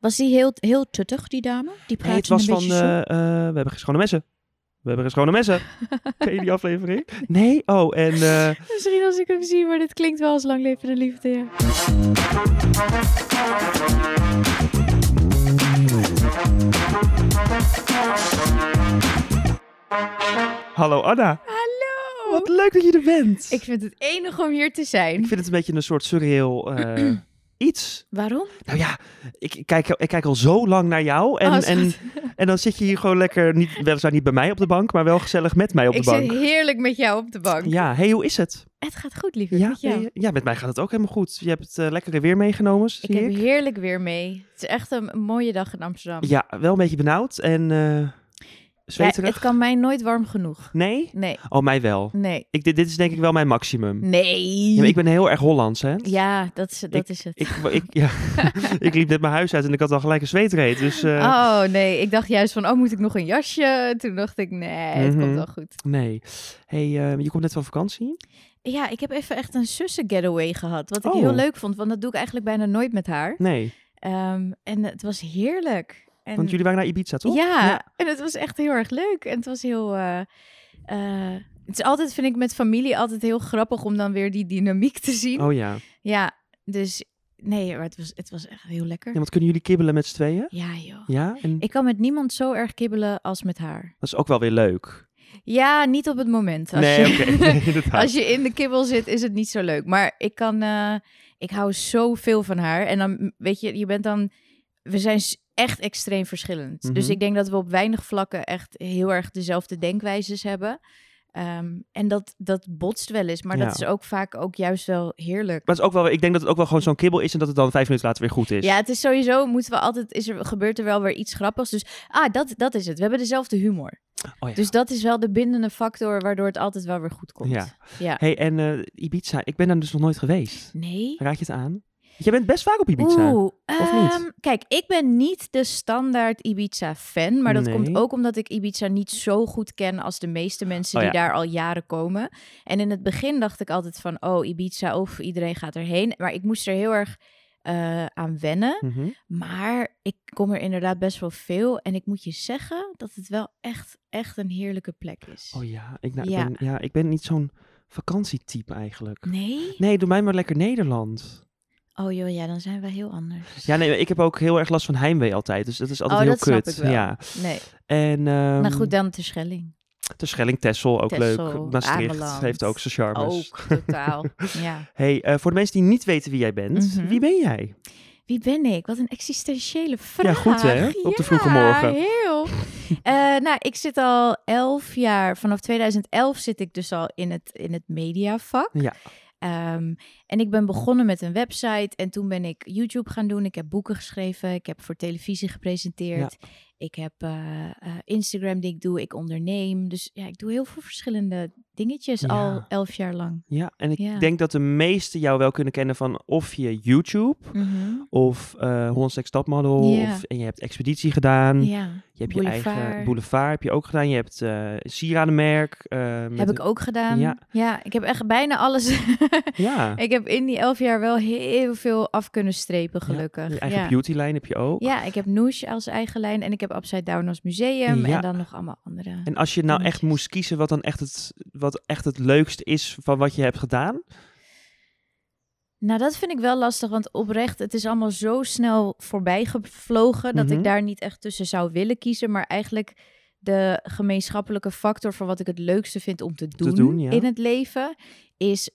Was die heel, heel tuttig, die dame? Die Nee, praatte het was een van, beetje zo. eh, eh, we hebben geen schone messen. We hebben geen schone messen. Ken je die aflevering? Nee? Oh, en... eh, Misschien als ik hem zie, maar dit klinkt wel als lang levende liefde. Ja. hallo Anna. Hallo! Wat leuk dat je er bent. Ik vind het enig om hier te zijn. Ik vind het een beetje een soort surreal eh, iets. Waarom? Nou ja, ik ik kijk, ik kijk al zo lang naar jou. En, Oh, schat. en, en dan zit je hier gewoon lekker, niet, weliswaar niet bij mij op de bank, maar wel gezellig met mij op de ik bank. zit heerlijk met jou op de bank. Ja, hey, hoe is het? Het gaat goed, lieverd. Ja, met jou. nee, ja, met mij gaat het ook helemaal goed. Je hebt het eh, lekkere weer meegenomen, zie Ik heb heerlijk weer mee. Het is echt een mooie dag in Amsterdam. Ja, wel een beetje benauwd en eh Ja, zweterig. het kan mij nooit warm genoeg. Nee? Nee, Oh, mij wel. nee, Ik, dit, dit is denk ik wel mijn maximum. nee. Ja, maar ik ben heel erg Hollands, hè? Mm. Ja, dat is, dat is het. Ik, ik, ja, ik liep net mijn huis uit en ik had al gelijk een zweetreet. Dus eh, Oh nee, ik dacht juist van, oh moet ik nog een jasje? Toen dacht ik, nee, het Mhm. komt wel goed. nee. hey, eh, je komt net van vakantie. Ja, ik heb even echt een zussen getaway gehad, wat ik Oh. heel leuk vond, want dat doe ik eigenlijk bijna nooit met haar. Nee, Ehm, en het was heerlijk. En, want jullie waren naar Ibiza, toch? Ja, en het was echt heel erg leuk. En het was heel. eh, eh, het is altijd, vind ik, met familie altijd heel grappig om dan weer die dynamiek te zien. Oh ja. Ja, dus nee, maar het was, het was echt heel lekker. ja. Want kunnen jullie kibbelen met z'n tweeën? Ja, joh. Ja? En Ik kan met niemand zo erg kibbelen als met haar. dat is ook wel weer leuk. Ja, niet op het moment. Als nee, je, oké. Nee, inderdaad. Als je in de kibbel zit, is het niet zo leuk. Maar ik kan, eh, ik hou zoveel van haar. En dan, weet je, je bent dan, we zijn s- echt extreem verschillend. Mhm. Dus ik denk dat we op weinig vlakken echt heel erg dezelfde denkwijzes hebben. Ehm, en dat, dat botst wel eens, maar Ja. dat is ook vaak ook juist wel heerlijk. Maar het is ook wel, ik denk dat het ook wel gewoon zo'n kibbel is en dat het dan vijf minuten later weer goed is. Ja, het is sowieso, moeten we altijd, is er, gebeurt er wel weer iets grappigs. Dus, ah, dat, dat is het. We hebben dezelfde humor. Oh ja. Dus dat is wel de bindende factor waardoor het altijd wel weer goed komt. Ja. ja. hey, en eh, Ibiza, ik ben daar dus nog nooit geweest. Nee. Raad je het aan? Jij bent best vaak op Ibiza. Oeh, Of niet? ehm, kijk, ik ben niet de standaard Ibiza-fan. Maar dat komt Nee. ook omdat ik Ibiza niet zo goed ken als de meeste mensen Oh die daar al jaren komen. En in het begin dacht ik altijd van, oh, Ibiza, of iedereen gaat erheen. Maar ik moest er heel erg eh, aan wennen. Mhm. Maar ik kom er inderdaad best wel veel. En ik moet je zeggen dat het wel echt, echt een heerlijke plek is. Oh ja, ik, nou, Ja. Ik, ben, ja, ik ben niet zo'n vakantietype eigenlijk. Nee? Nee, doe mij maar lekker Nederland. Oh joh, ja, dan zijn we heel anders. Ja, nee, ik heb ook heel erg last van heimwee altijd. Dus dat is altijd Oh, heel dat snap kut. ik wel. Ja. Nee. En ehm nou goed, dan de Schelling. Terschelling, Tessel, ook Texel, leuk. Maastricht Ameland. heeft ook zijn charmes. Ook, totaal. ja. Hey, eh, voor de mensen die niet weten wie jij bent, Mhm. wie ben jij? Wie ben ik? Wat een existentiële vraag. goed, hè? Op de vroege morgen. Ja, heel. Eh, nou, ik zit al elf jaar, vanaf 2011 zit ik dus al in het, in het mediavak. Ja. Ehm, en ik ben begonnen met een website en toen ben ik YouTube gaan doen. Ik heb boeken geschreven, ik heb voor televisie gepresenteerd. Ik heb eh, eh, Instagram die ik doe, ik onderneem. Dus ja, ik doe heel veel verschillende dingetjes Ja. al elf jaar lang. Ja, en ik Ja. denk dat de meesten jou wel kunnen kennen van of je YouTube of eh Hollands Next Top Model. Ja. Of, en je hebt expeditie gedaan. Ja, Je hebt Boulevard. je eigen boulevard, heb je ook gedaan. Je hebt eh sieradenmerk. eh, met heb een- ik ook gedaan. Ja. ja, ik heb echt bijna alles Ja. Ik heb in die elf jaar wel heel veel af kunnen strepen, gelukkig. Je Ja, eigen ja. beautylijn heb je ook. ik heb Noosh als eigen lijn en ik heb Upside Down als museum Ja. en dan nog allemaal andere. En als je nou echt Dingetjes. moest kiezen wat dan echt het, wat echt het leukste is van wat je hebt gedaan. Nou, dat vind ik wel lastig, want oprecht, het is allemaal zo snel voorbij gevlogen dat Mhm. ik daar niet echt tussen zou willen kiezen, maar eigenlijk de gemeenschappelijke factor van wat ik het leukste vind om te doen, doen, ja. in het leven is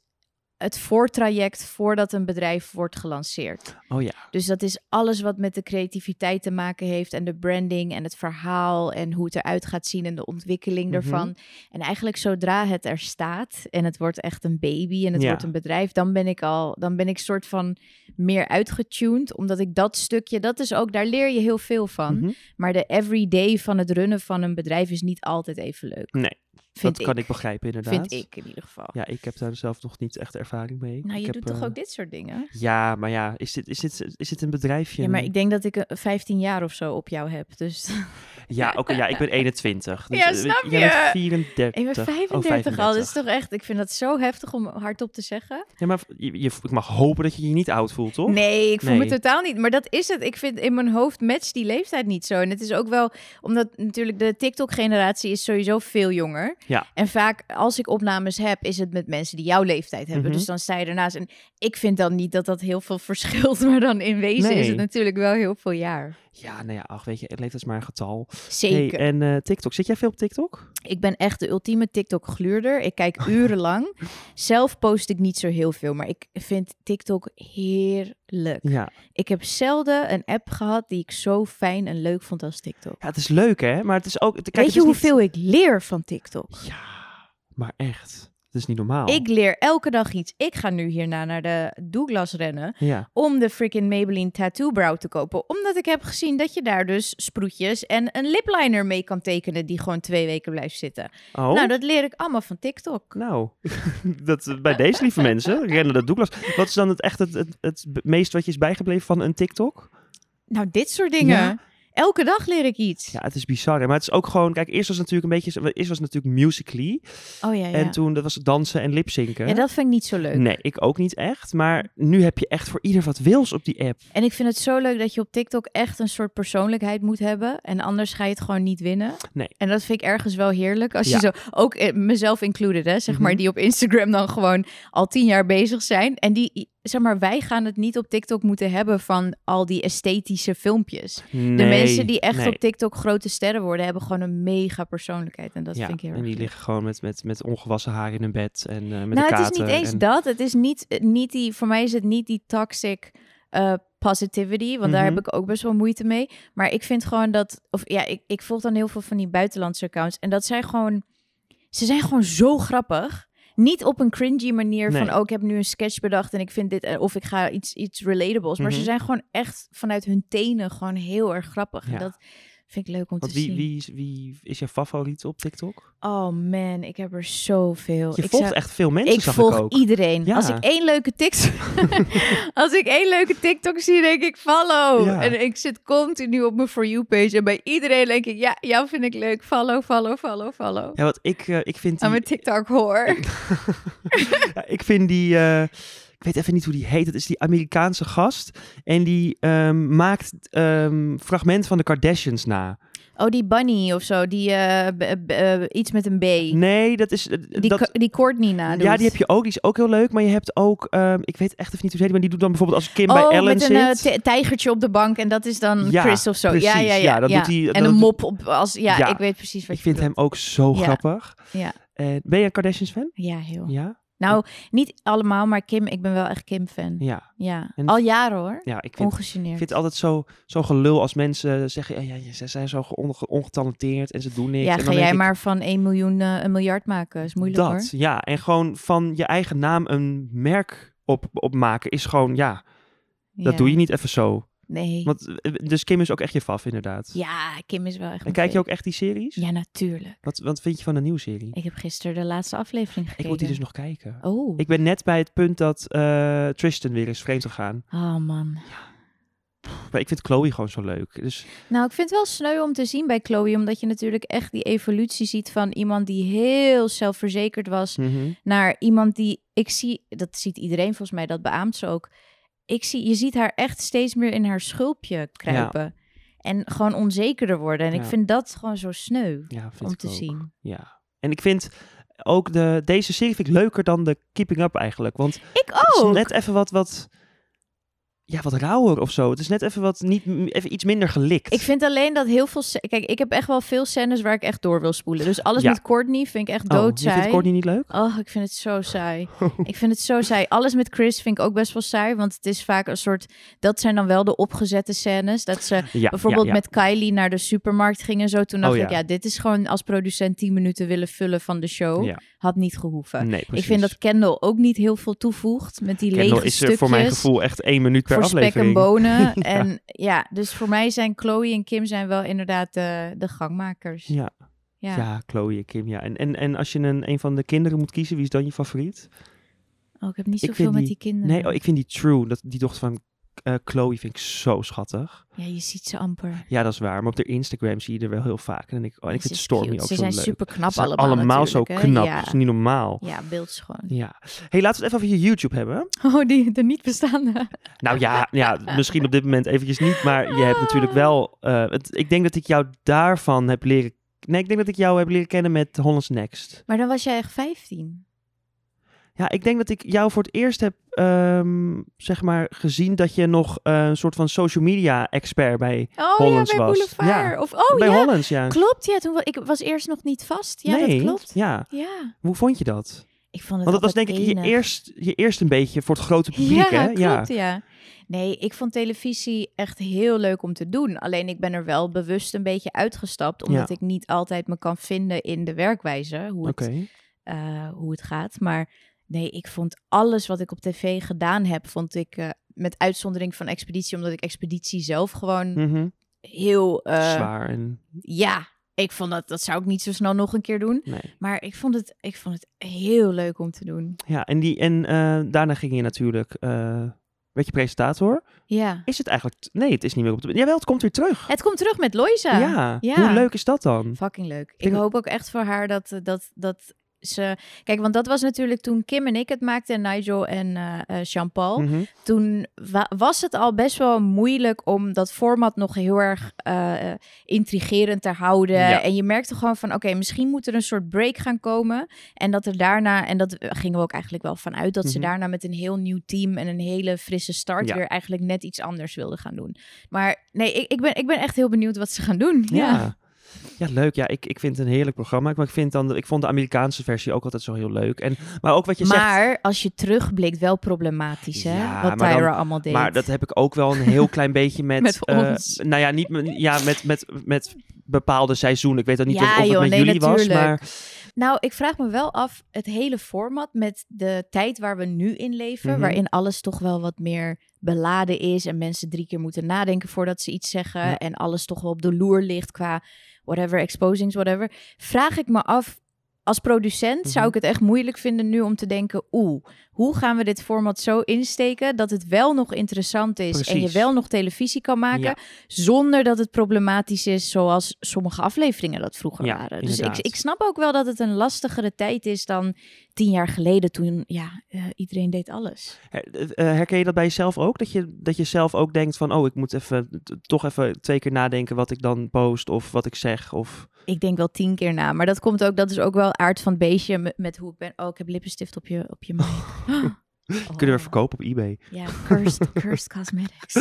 het voortraject voordat een bedrijf wordt gelanceerd. Oh ja. Dus dat is alles wat met de creativiteit te maken heeft en de branding en het verhaal en hoe het eruit gaat zien en de ontwikkeling Mhm. daarvan. En eigenlijk zodra het er staat en het wordt echt een baby en het Ja. wordt een bedrijf, dan ben ik al, dan ben ik soort van meer uitgetuned, omdat ik dat stukje, dat is ook, daar leer je heel veel van. Mhm. Maar de everyday van het runnen van een bedrijf is niet altijd even leuk. Nee, vind dat kan ik begrijpen inderdaad. Vind ik in ieder geval. Ja, ik heb daar zelf nog niet echt ervaring mee. Nou, je ik doet heb, toch eh, ook dit soort dingen? Ja, maar ja, is dit, is dit, is dit een bedrijfje? Ja, maar ik denk dat ik eh, 15 jaar of zo op jou heb. Dus Ja, Ja, oké, ja, ik ben 21. Dus, Ja, eh, snap Jij bent je? 34. Ik ben Oh, 35, al, dus- dat is toch echt... Ik vind dat zo heftig om hardop te zeggen. Ja, maar je, je- ik mag hopen dat je je niet oud voelt, toch? Nee, ik voel me Nee. totaal niet. Maar dat is het. Ik vind in mijn hoofd matcht die leeftijd niet zo. En het is ook wel omdat natuurlijk de TikTok-generatie is sowieso veel jonger. Ja. En vaak als ik opnames heb, is het met mensen die jouw leeftijd hebben. Mhm. Dus dan sta je ernaast. En ik vind dan niet dat dat heel veel verschilt. Maar dan in wezen is Nee. het natuurlijk wel heel veel jaar. Ja, nou ja, ach, weet je, leeftijd is maar een getal. Hey, Zeker. en eh, TikTok, zit jij veel op TikTok? Ik ben echt de ultieme TikTok-gluurder. Ik kijk urenlang. Zelf post ik niet zo heel veel. Maar ik vind TikTok heerlijk. Ja. Ik heb zelden een app gehad die ik zo fijn en leuk vond als TikTok. Ja, het is leuk, hè? Maar het is ook... het- Kijk, Weet het je is niet- hoeveel ik leer van TikTok? Ja, maar echt. Het is niet normaal. Ik leer elke dag iets. Ik ga nu hierna naar de Douglas rennen Ja, om de freaking Maybelline Tattoo Brow te kopen. Omdat ik heb gezien dat je daar dus sproetjes en een lipliner mee kan tekenen die gewoon twee weken blijft zitten. oh... Nou, dat leer ik allemaal van TikTok. Nou, dat, eh, bij deze lieve mensen, rennen dat Douglas. Wat is dan het, echt het, het, het meest wat je is bijgebleven van een TikTok? Nou, dit soort dingen. Ja. Elke dag leer ik iets. Ja, het is bizar. hè, Maar het is ook gewoon, kijk, eerst was het natuurlijk een beetje, eerst was het natuurlijk musically. Oh ja, ja. En toen, dat was het dansen en lipzinken. ja, dat vind ik niet zo leuk. Nee, ik ook niet echt. Maar nu heb je echt voor ieder wat wils op die app. En ik vind het zo leuk dat je op TikTok echt een soort persoonlijkheid moet hebben. En anders ga je het gewoon niet winnen. Nee. En dat vind ik ergens wel heerlijk. Als Ja. je zo, ook eh, mezelf included, hè, zeg maar, Mhm. die op Instagram dan gewoon al tien jaar bezig zijn. En die, zeg maar, wij gaan het niet op TikTok moeten hebben van al die esthetische filmpjes. De mensen die echt nee. op TikTok grote sterren worden, hebben gewoon een mega persoonlijkheid. En dat ja, vind ik heel en erg. die leuk. liggen gewoon met, met, met ongewassen haar in hun bed en eh, met nou, de katen. het is niet eens en- dat. Het is niet, eh, niet die, voor mij is het niet die toxic eh, positivity, want daar heb Mhm. ik ook best wel moeite mee. Maar ik vind gewoon dat, of ja, ik, ik volg dan heel veel van die buitenlandse accounts en dat zijn gewoon, ze zijn gewoon zo grappig. Niet op een cringy manier van, Nee. oh, ik heb nu een sketch bedacht en ik vind dit, eh, of ik ga iets, iets relatables. Maar ze Mhm. zijn gewoon echt vanuit hun tenen gewoon heel erg grappig. En Ja. dat vind ik leuk om Want te wie, zien. wie, is- wie is je favoriet op TikTok? Oh man, ik heb er zoveel. Je Oh, ik volgt zou- echt veel mensen, ik zag volg ik ook. iedereen. Ja. Als ik één leuke TikTok, als ik één leuke TikTok zie, denk ik follow. Ja. En ik zit continu op mijn for you page en bij iedereen denk ik ja, jou vind ik leuk. Follow, follow, follow, follow. Ja, want ik, eh, ik vind Aan die... mijn TikTok hoor. Ja, ik vind die. eh, ik weet even niet hoe die heet. Het is die Amerikaanse gast. En die ehm, maakt ehm fragment van de Kardashians na. Oh die bunny of zo, die eh, b- b- eh, iets met een B. Nee, dat is. eh, die dat, Ko- die Courtney nadoet. ja, die heb je ook. Die is ook heel leuk. Maar je hebt ook. ehm, ik weet echt even niet hoe ze heet. Maar die doet dan bijvoorbeeld als Kim bij oh, Ellen met een eh, zit. ti- tijgertje op de bank en dat is dan Ja, Chris of zo. ja, precies. ja, ja. Ja, dat doet hij- en dat een doet- mop op als ja, Ja. ik weet precies wat ik je vind hem ook zo Ja. grappig. Ja. En ben je een Kardashians fan? bedoelt. Ja, heel. Ja. Nou, niet allemaal, maar Kim, ik ben wel echt Kim fan. Ja. Ja, En- al jaren hoor. Ja, ik vind. Ik Ongegeneerd. vind het altijd zo, zo gelul als mensen zeggen, ja, ja, ja, ze zijn zo onge- ongetalenteerd en ze doen niks. ja, En ga dan denk jij ik, maar van 1 miljoen eh, een miljard maken. Is moeilijk dat, hoor. ja. En gewoon van je eigen naam een merk op, op maken is gewoon, ja, dat Ja. doe je niet even zo. Nee. Want, eh, dus Kim is ook echt je faf, inderdaad. Ja, Kim is wel echt. en mijn kijk je fave. ook echt die series? Ja, natuurlijk. Wat, wat vind je van de nieuwe serie? Ik, Ik heb gisteren de laatste aflevering gekeken. moet die dus nog kijken. Oh. Ik ben net bij het punt dat eh, Tristan weer is vreemd gegaan. oh man. Maar ik vind Chloe gewoon zo leuk. Dus Nou, ik vind het wel sneu om te zien bij Chloe, omdat je natuurlijk echt die evolutie ziet van iemand die heel zelfverzekerd was mhm. naar iemand die ik zie, dat ziet iedereen volgens mij, dat beaamt ze ook. Ik zie, je ziet haar echt steeds meer in haar schulpje kruipen en gewoon onzekerder worden. En ik Ja. vind dat gewoon zo sneu ja, vind om ik te ook. zien. Ja. En ik vind ook de, deze serie vind ik leuker dan de Keeping Up eigenlijk. Want Ik Het ook. is net even wat, wat, ja, wat rauwer of zo. Het is net even, wat niet, even iets minder gelikt. Ik vind alleen dat heel veel. sc- Kijk, ik heb echt wel veel scènes waar ik echt door wil spoelen. Dus alles Ja. met Courtney vind ik echt oh, je doodzaai. vindt Courtney Oh. niet leuk? Oh, ik vind het zo saai. ik vind het zo saai. Alles met Chris vind ik ook best wel saai. Want het is vaak een soort. Dat zijn dan wel de opgezette scènes. Dat ze Ja, bijvoorbeeld ja, ja. met Kylie naar de supermarkt gingen. Zo toen dacht Oh, ik, ja. ja, dit is gewoon als producent 10 minuten willen vullen van de show. Ja. Had niet gehoeven. Nee, precies. Ik vind dat Kendall ook niet heel veel toevoegt met die Kendall lege is er stukjes voor mijn gevoel echt één minuut per voor spek en aflevering. bonen. En ja, dus voor mij zijn Chloe en Kim zijn wel inderdaad de, de gangmakers. ja, Ja. ja. Chloe en Kim, ja. En, en, en als je een, een van de kinderen moet kiezen, wie is dan je favoriet? Oh, ik heb niet Ik zoveel vind met die die- kinderen. oh. Nee, oh, ik vind die True, dat, die dochter van eh Chloe vind ik zo schattig. Ja, je ziet ze amper. Ja, dat is waar. Maar op de Instagram zie je er wel heel vaak. En dan denk ik, oh, en Oh, ik Ze vind is Stormy cute. ook Ze zo zijn leuk. super knap Ze zijn allemaal. allemaal zo natuurlijk, hè? knap. Ja, Dat is niet normaal. ja beeldschoon. Ja. hey, laten we het even over je YouTube hebben. Oh, die de niet bestaande. Nou ja, ja, misschien op dit moment eventjes niet, maar je hebt natuurlijk wel... eh, het, ik denk dat ik jou daarvan heb leren... Nee, ik denk dat ik jou heb leren kennen met Hollands Next. Maar dan was jij echt 15. Ja, ik denk dat ik jou voor het eerst heb, ehm, zeg maar, gezien dat je nog eh, een soort van social media expert bij... Oh Hollands ja, bij was. Boulevard. Ja, Of, oh bij ja, Hollands, ja. klopt. Ja, toen, wa- ik was eerst nog niet vast. Ja, nee, dat klopt. ja. Ja, Hoe vond je dat? ik vond het Want dat was altijd denk ik je enig. eerst, je eerst een beetje voor het grote publiek, ja, hè? Klopt, ja. Nee, ik vond televisie echt heel leuk om te doen. Alleen ik ben er wel bewust een beetje uitgestapt, omdat Ja. ik niet altijd me kan vinden in de werkwijze, hoe, Oké. het, eh, hoe het gaat. Maar nee, ik vond alles wat ik op tv gedaan heb, vond ik eh, met uitzondering van Expeditie, omdat ik Expeditie zelf gewoon Mhm. heel... eh, Zwaar en... Ja, ik vond dat, dat zou ik niet zo snel nog een keer doen. Nee. Maar ik vond het, ik vond het heel leuk om te doen. Ja, en, die, en eh, daarna ging je natuurlijk, eh werd je presentator. Ja. Is het eigenlijk, t- nee, het is niet meer op de, jawel, het komt weer terug. Het komt terug met Loisa. ja. ja. hoe leuk is dat dan? Fucking leuk. Ik denk- hoop ook echt voor haar dat, eh, dat, dat ze... Kijk, want dat was natuurlijk toen Kim en ik het maakten... en Nigel en eh, eh, Jean-Paul. Mhm. Toen wa- was het al best wel moeilijk om dat format nog heel erg eh, eh, intrigerend te houden. Ja. En je merkte gewoon van, oké, misschien moet er een soort break gaan komen. En dat er daarna, en dat eh, gingen we ook eigenlijk wel van uit... dat ze Mhm. daarna met een heel nieuw team en een hele frisse start... Ja. weer eigenlijk net iets anders wilden gaan doen. Maar nee, ik, ik, ben, ik ben echt heel benieuwd wat ze gaan doen. Ja. ja. Ja, leuk. Ja, ik, ik vind het een heerlijk programma. Maar ik vind dan, de- ik vond de Amerikaanse versie ook altijd zo heel leuk. En, maar ook wat je zegt, maar als je terugblikt, wel problematisch, hè? Ja, wat maar dan- Tyra allemaal deed. Maar dat heb ik ook wel een heel klein beetje met... Met eh, ons. nou ja, niet met, ja, met, met, met bepaalde seizoenen. Ik weet dan niet Ja, of het joh, met nee, jullie was, natuurlijk. maar... Nou, ik vraag me wel af, het hele format met de tijd waar we nu in leven, Mhm. waarin alles toch wel wat meer beladen is en mensen drie keer moeten nadenken voordat ze iets zeggen Ja. en alles toch wel op de loer ligt qua whatever, exposings, whatever. Vraag ik me af, als producent zou Mhm. ik het echt moeilijk vinden nu om te denken, oeh, hoe gaan we dit format zo insteken dat het wel nog interessant is en je Precies. wel nog televisie kan maken, Ja. zonder dat het problematisch is zoals sommige afleveringen dat vroeger Ja, waren. Dus ik, inderdaad. ik snap ook wel dat het een lastigere tijd is dan tien jaar geleden toen ja, eh, iedereen deed alles. Her- eh, Herken je dat bij jezelf ook? Dat je, dat je zelf ook denkt van, oh, ik moet even, t- toch even twee keer nadenken wat ik dan post of wat ik zeg. Of... Ik denk wel tien keer na, maar dat komt ook, dat is ook wel aard van het beestje met, met hoe ik ben. Oh, ik heb lippenstift op je, op je mond. Oh. Kunnen we verkopen op eBay? Ja, cursed, cursed cosmetics.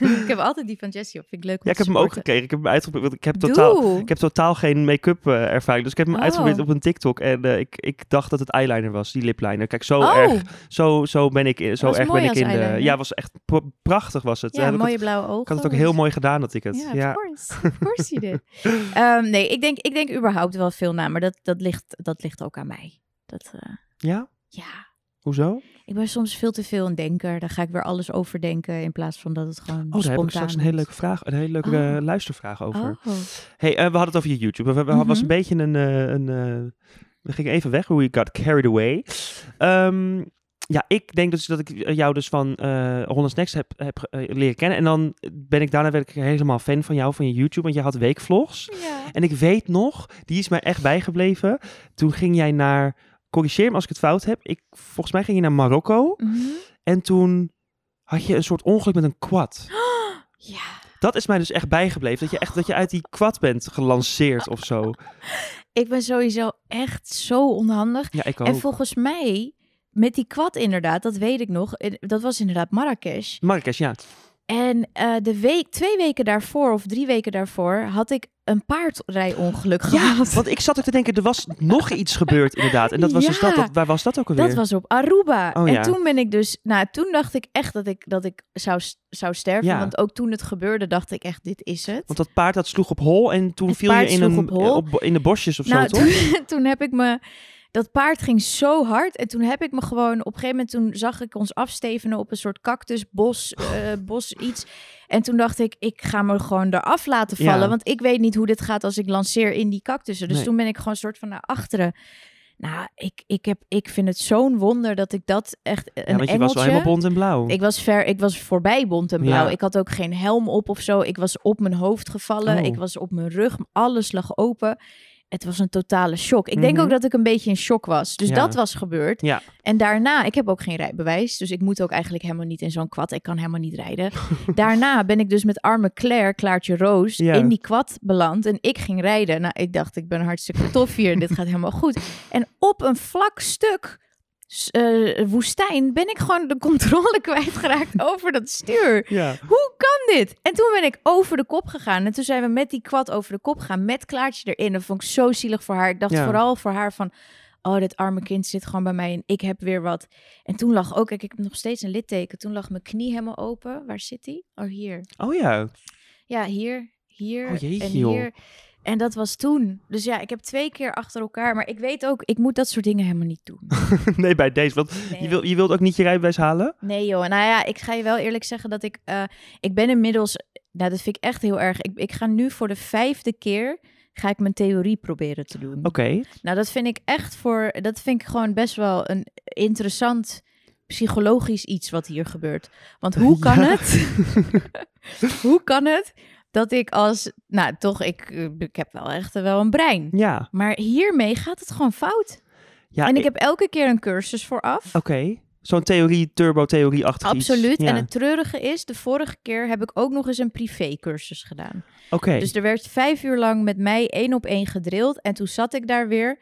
ik heb altijd die van Jessie op, vind ik leuk om Ja, ik te heb hem ook supporten. gekregen. Ik heb hem uitgeprobeerd. want Ik heb totaal, Doe. ik heb totaal geen make-up eh, ervaring. Dus ik heb hem Oh. uitgeprobeerd op een TikTok. En eh, ik, ik dacht dat het eyeliner was, die lipliner. Kijk, zo oh, erg, zo, zo ben ik, in- zo was erg mooi ben ik als in de... eyeliner. Ja, was echt pr- prachtig was het. ja, Had ik mooie het- blauwe ogen. ik had het ook heel mooi gedaan dat ik het. Ja, Ja, of course. Of course you did. Ehm, nee, ik denk, ik denk überhaupt wel veel na, maar dat, dat, ligt, dat ligt ook aan mij. Dat, eh, Ja? ja, Hoezo? ik ben soms veel te veel een denker. Dan ga ik weer alles overdenken in plaats van dat het gewoon Oh, daar spontaan heb ik straks een is. hele leuke vraag, een hele leuke Oh. eh, luistervraag over. Oh, Hey, eh, we hadden het over je YouTube. We, we- we- was een Mhm. beetje een. eh, een eh, we gingen even weg hoe je got carried away. Ehm, ja, ik denk dus dat ik eh, jou dus van eh Holland's Next heb, heb eh, leren kennen. En dan ben ik daarna werd ik helemaal fan van jou, van je YouTube. Want je had weekvlogs. ja. En ik weet nog, die is mij echt bijgebleven. Toen ging jij naar, corrigeer me als ik het fout heb. Ik, volgens mij ging je naar Marokko. Mhm. En toen had je een soort ongeluk met een quad. ja. Dat is mij dus echt bijgebleven. Dat je echt dat je uit die kwad bent gelanceerd of zo. Ik ben sowieso echt zo onhandig. Ja, ik ook. En volgens mij, met die kwad inderdaad, dat weet ik nog. eh, Dat was inderdaad Marrakesh. Marrakesh, ja. En eh, de week, twee weken daarvoor of drie weken daarvoor had ik een paardrijonongeluk gehad. Want ik zat ook te denken, er was nog iets gebeurd inderdaad. En dat was dus Ja. dat, dat. Waar was dat ook alweer? Dat was op Aruba. Oh, en ja. toen ben ik dus, nou, toen dacht ik echt dat ik, dat ik zou, s- zou sterven. Ja. Want ook toen het gebeurde, dacht ik echt, dit is het. Want dat paard dat sloeg op hol en toen Het viel je paard in, sloeg een, eh, op hol. op- in de bosjes of nou, zo, toch? toen, toen heb ik me, dat paard ging zo hard. En toen heb ik me gewoon, op een gegeven moment, toen zag ik ons afstevenen op een soort cactusbos, eh, bos iets. En toen dacht ik, ik ga me gewoon eraf laten Ja. vallen. Want ik weet niet hoe dit gaat als ik lanceer in die cactussen. Dus Nee. toen ben ik gewoon een soort van naar achteren. Nou, ik, ik, heb, ik vind het zo'n wonder dat ik dat echt een Ja, want je was wel engeltje- helemaal bont en blauw. Ik was ver, ik was voorbij bont en blauw. Ja. Ik had ook geen helm op of zo. Ik was op mijn hoofd gevallen. Oh. Ik was op mijn rug. Alles lag open. Het was een totale shock. Ik denk Mhm. ook dat ik een beetje in shock was. Dus Ja. dat was gebeurd. Ja. En daarna, ik heb ook geen rijbewijs. Dus ik moet ook eigenlijk helemaal niet in zo'n kwad. Ik kan helemaal niet rijden. daarna ben ik dus met arme Claire, Klaartje Roos, Ja. in die kwad beland. En ik ging rijden. Nou, ik dacht, ik ben hartstikke tof hier. Dit gaat helemaal goed. En op een vlak stuk s- eh, woestijn ben ik gewoon de controle kwijtgeraakt over dat stuur. Ja. Hoe kan dit? En toen ben ik over de kop gegaan. En toen zijn we met die kwad over de kop gegaan. Met Klaartje erin. Dat vond ik zo zielig voor haar. Ik dacht Ja. vooral voor haar van... Oh, dit arme kind zit gewoon bij mij en ik heb weer wat. En toen lag ook... Kijk, ik heb nog steeds een litteken. Toen lag mijn knie helemaal open. Waar zit die? Oh, hier. Oh ja. Ja, hier, hier Oh, jeetje, en joh. hier. En dat was toen. Dus ja, ik heb twee keer achter elkaar. Maar ik weet ook, ik moet dat soort dingen helemaal niet doen. nee, bij deze. Want je, Nee. wil, je wilt ook niet je rijbewijs halen? Nee joh, nou ja, ik ga je wel eerlijk zeggen dat ik... eh, ik ben inmiddels... Nou, dat vind ik echt heel erg. Ik, ik ga nu voor de vijfde keer... ga ik mijn theorie proberen te doen. Oké. Nou, dat vind ik echt voor... Dat vind ik gewoon best wel een interessant psychologisch iets wat hier gebeurt. Want hoe kan Ja. het... hoe kan het dat ik als... Nou, toch, ik, eh, ik heb wel echt wel een brein. Ja. Maar hiermee gaat het gewoon fout. ja en ik, ik- heb elke keer een cursus vooraf. Oké. Zo'n theorie, turbo-theorie-achtig iets. Absoluut. Ja. En het treurige is, de vorige keer heb ik ook nog eens een privécursus gedaan. Oké. Dus er werd vijf uur lang met mij één op één gedrild. En toen zat ik daar weer.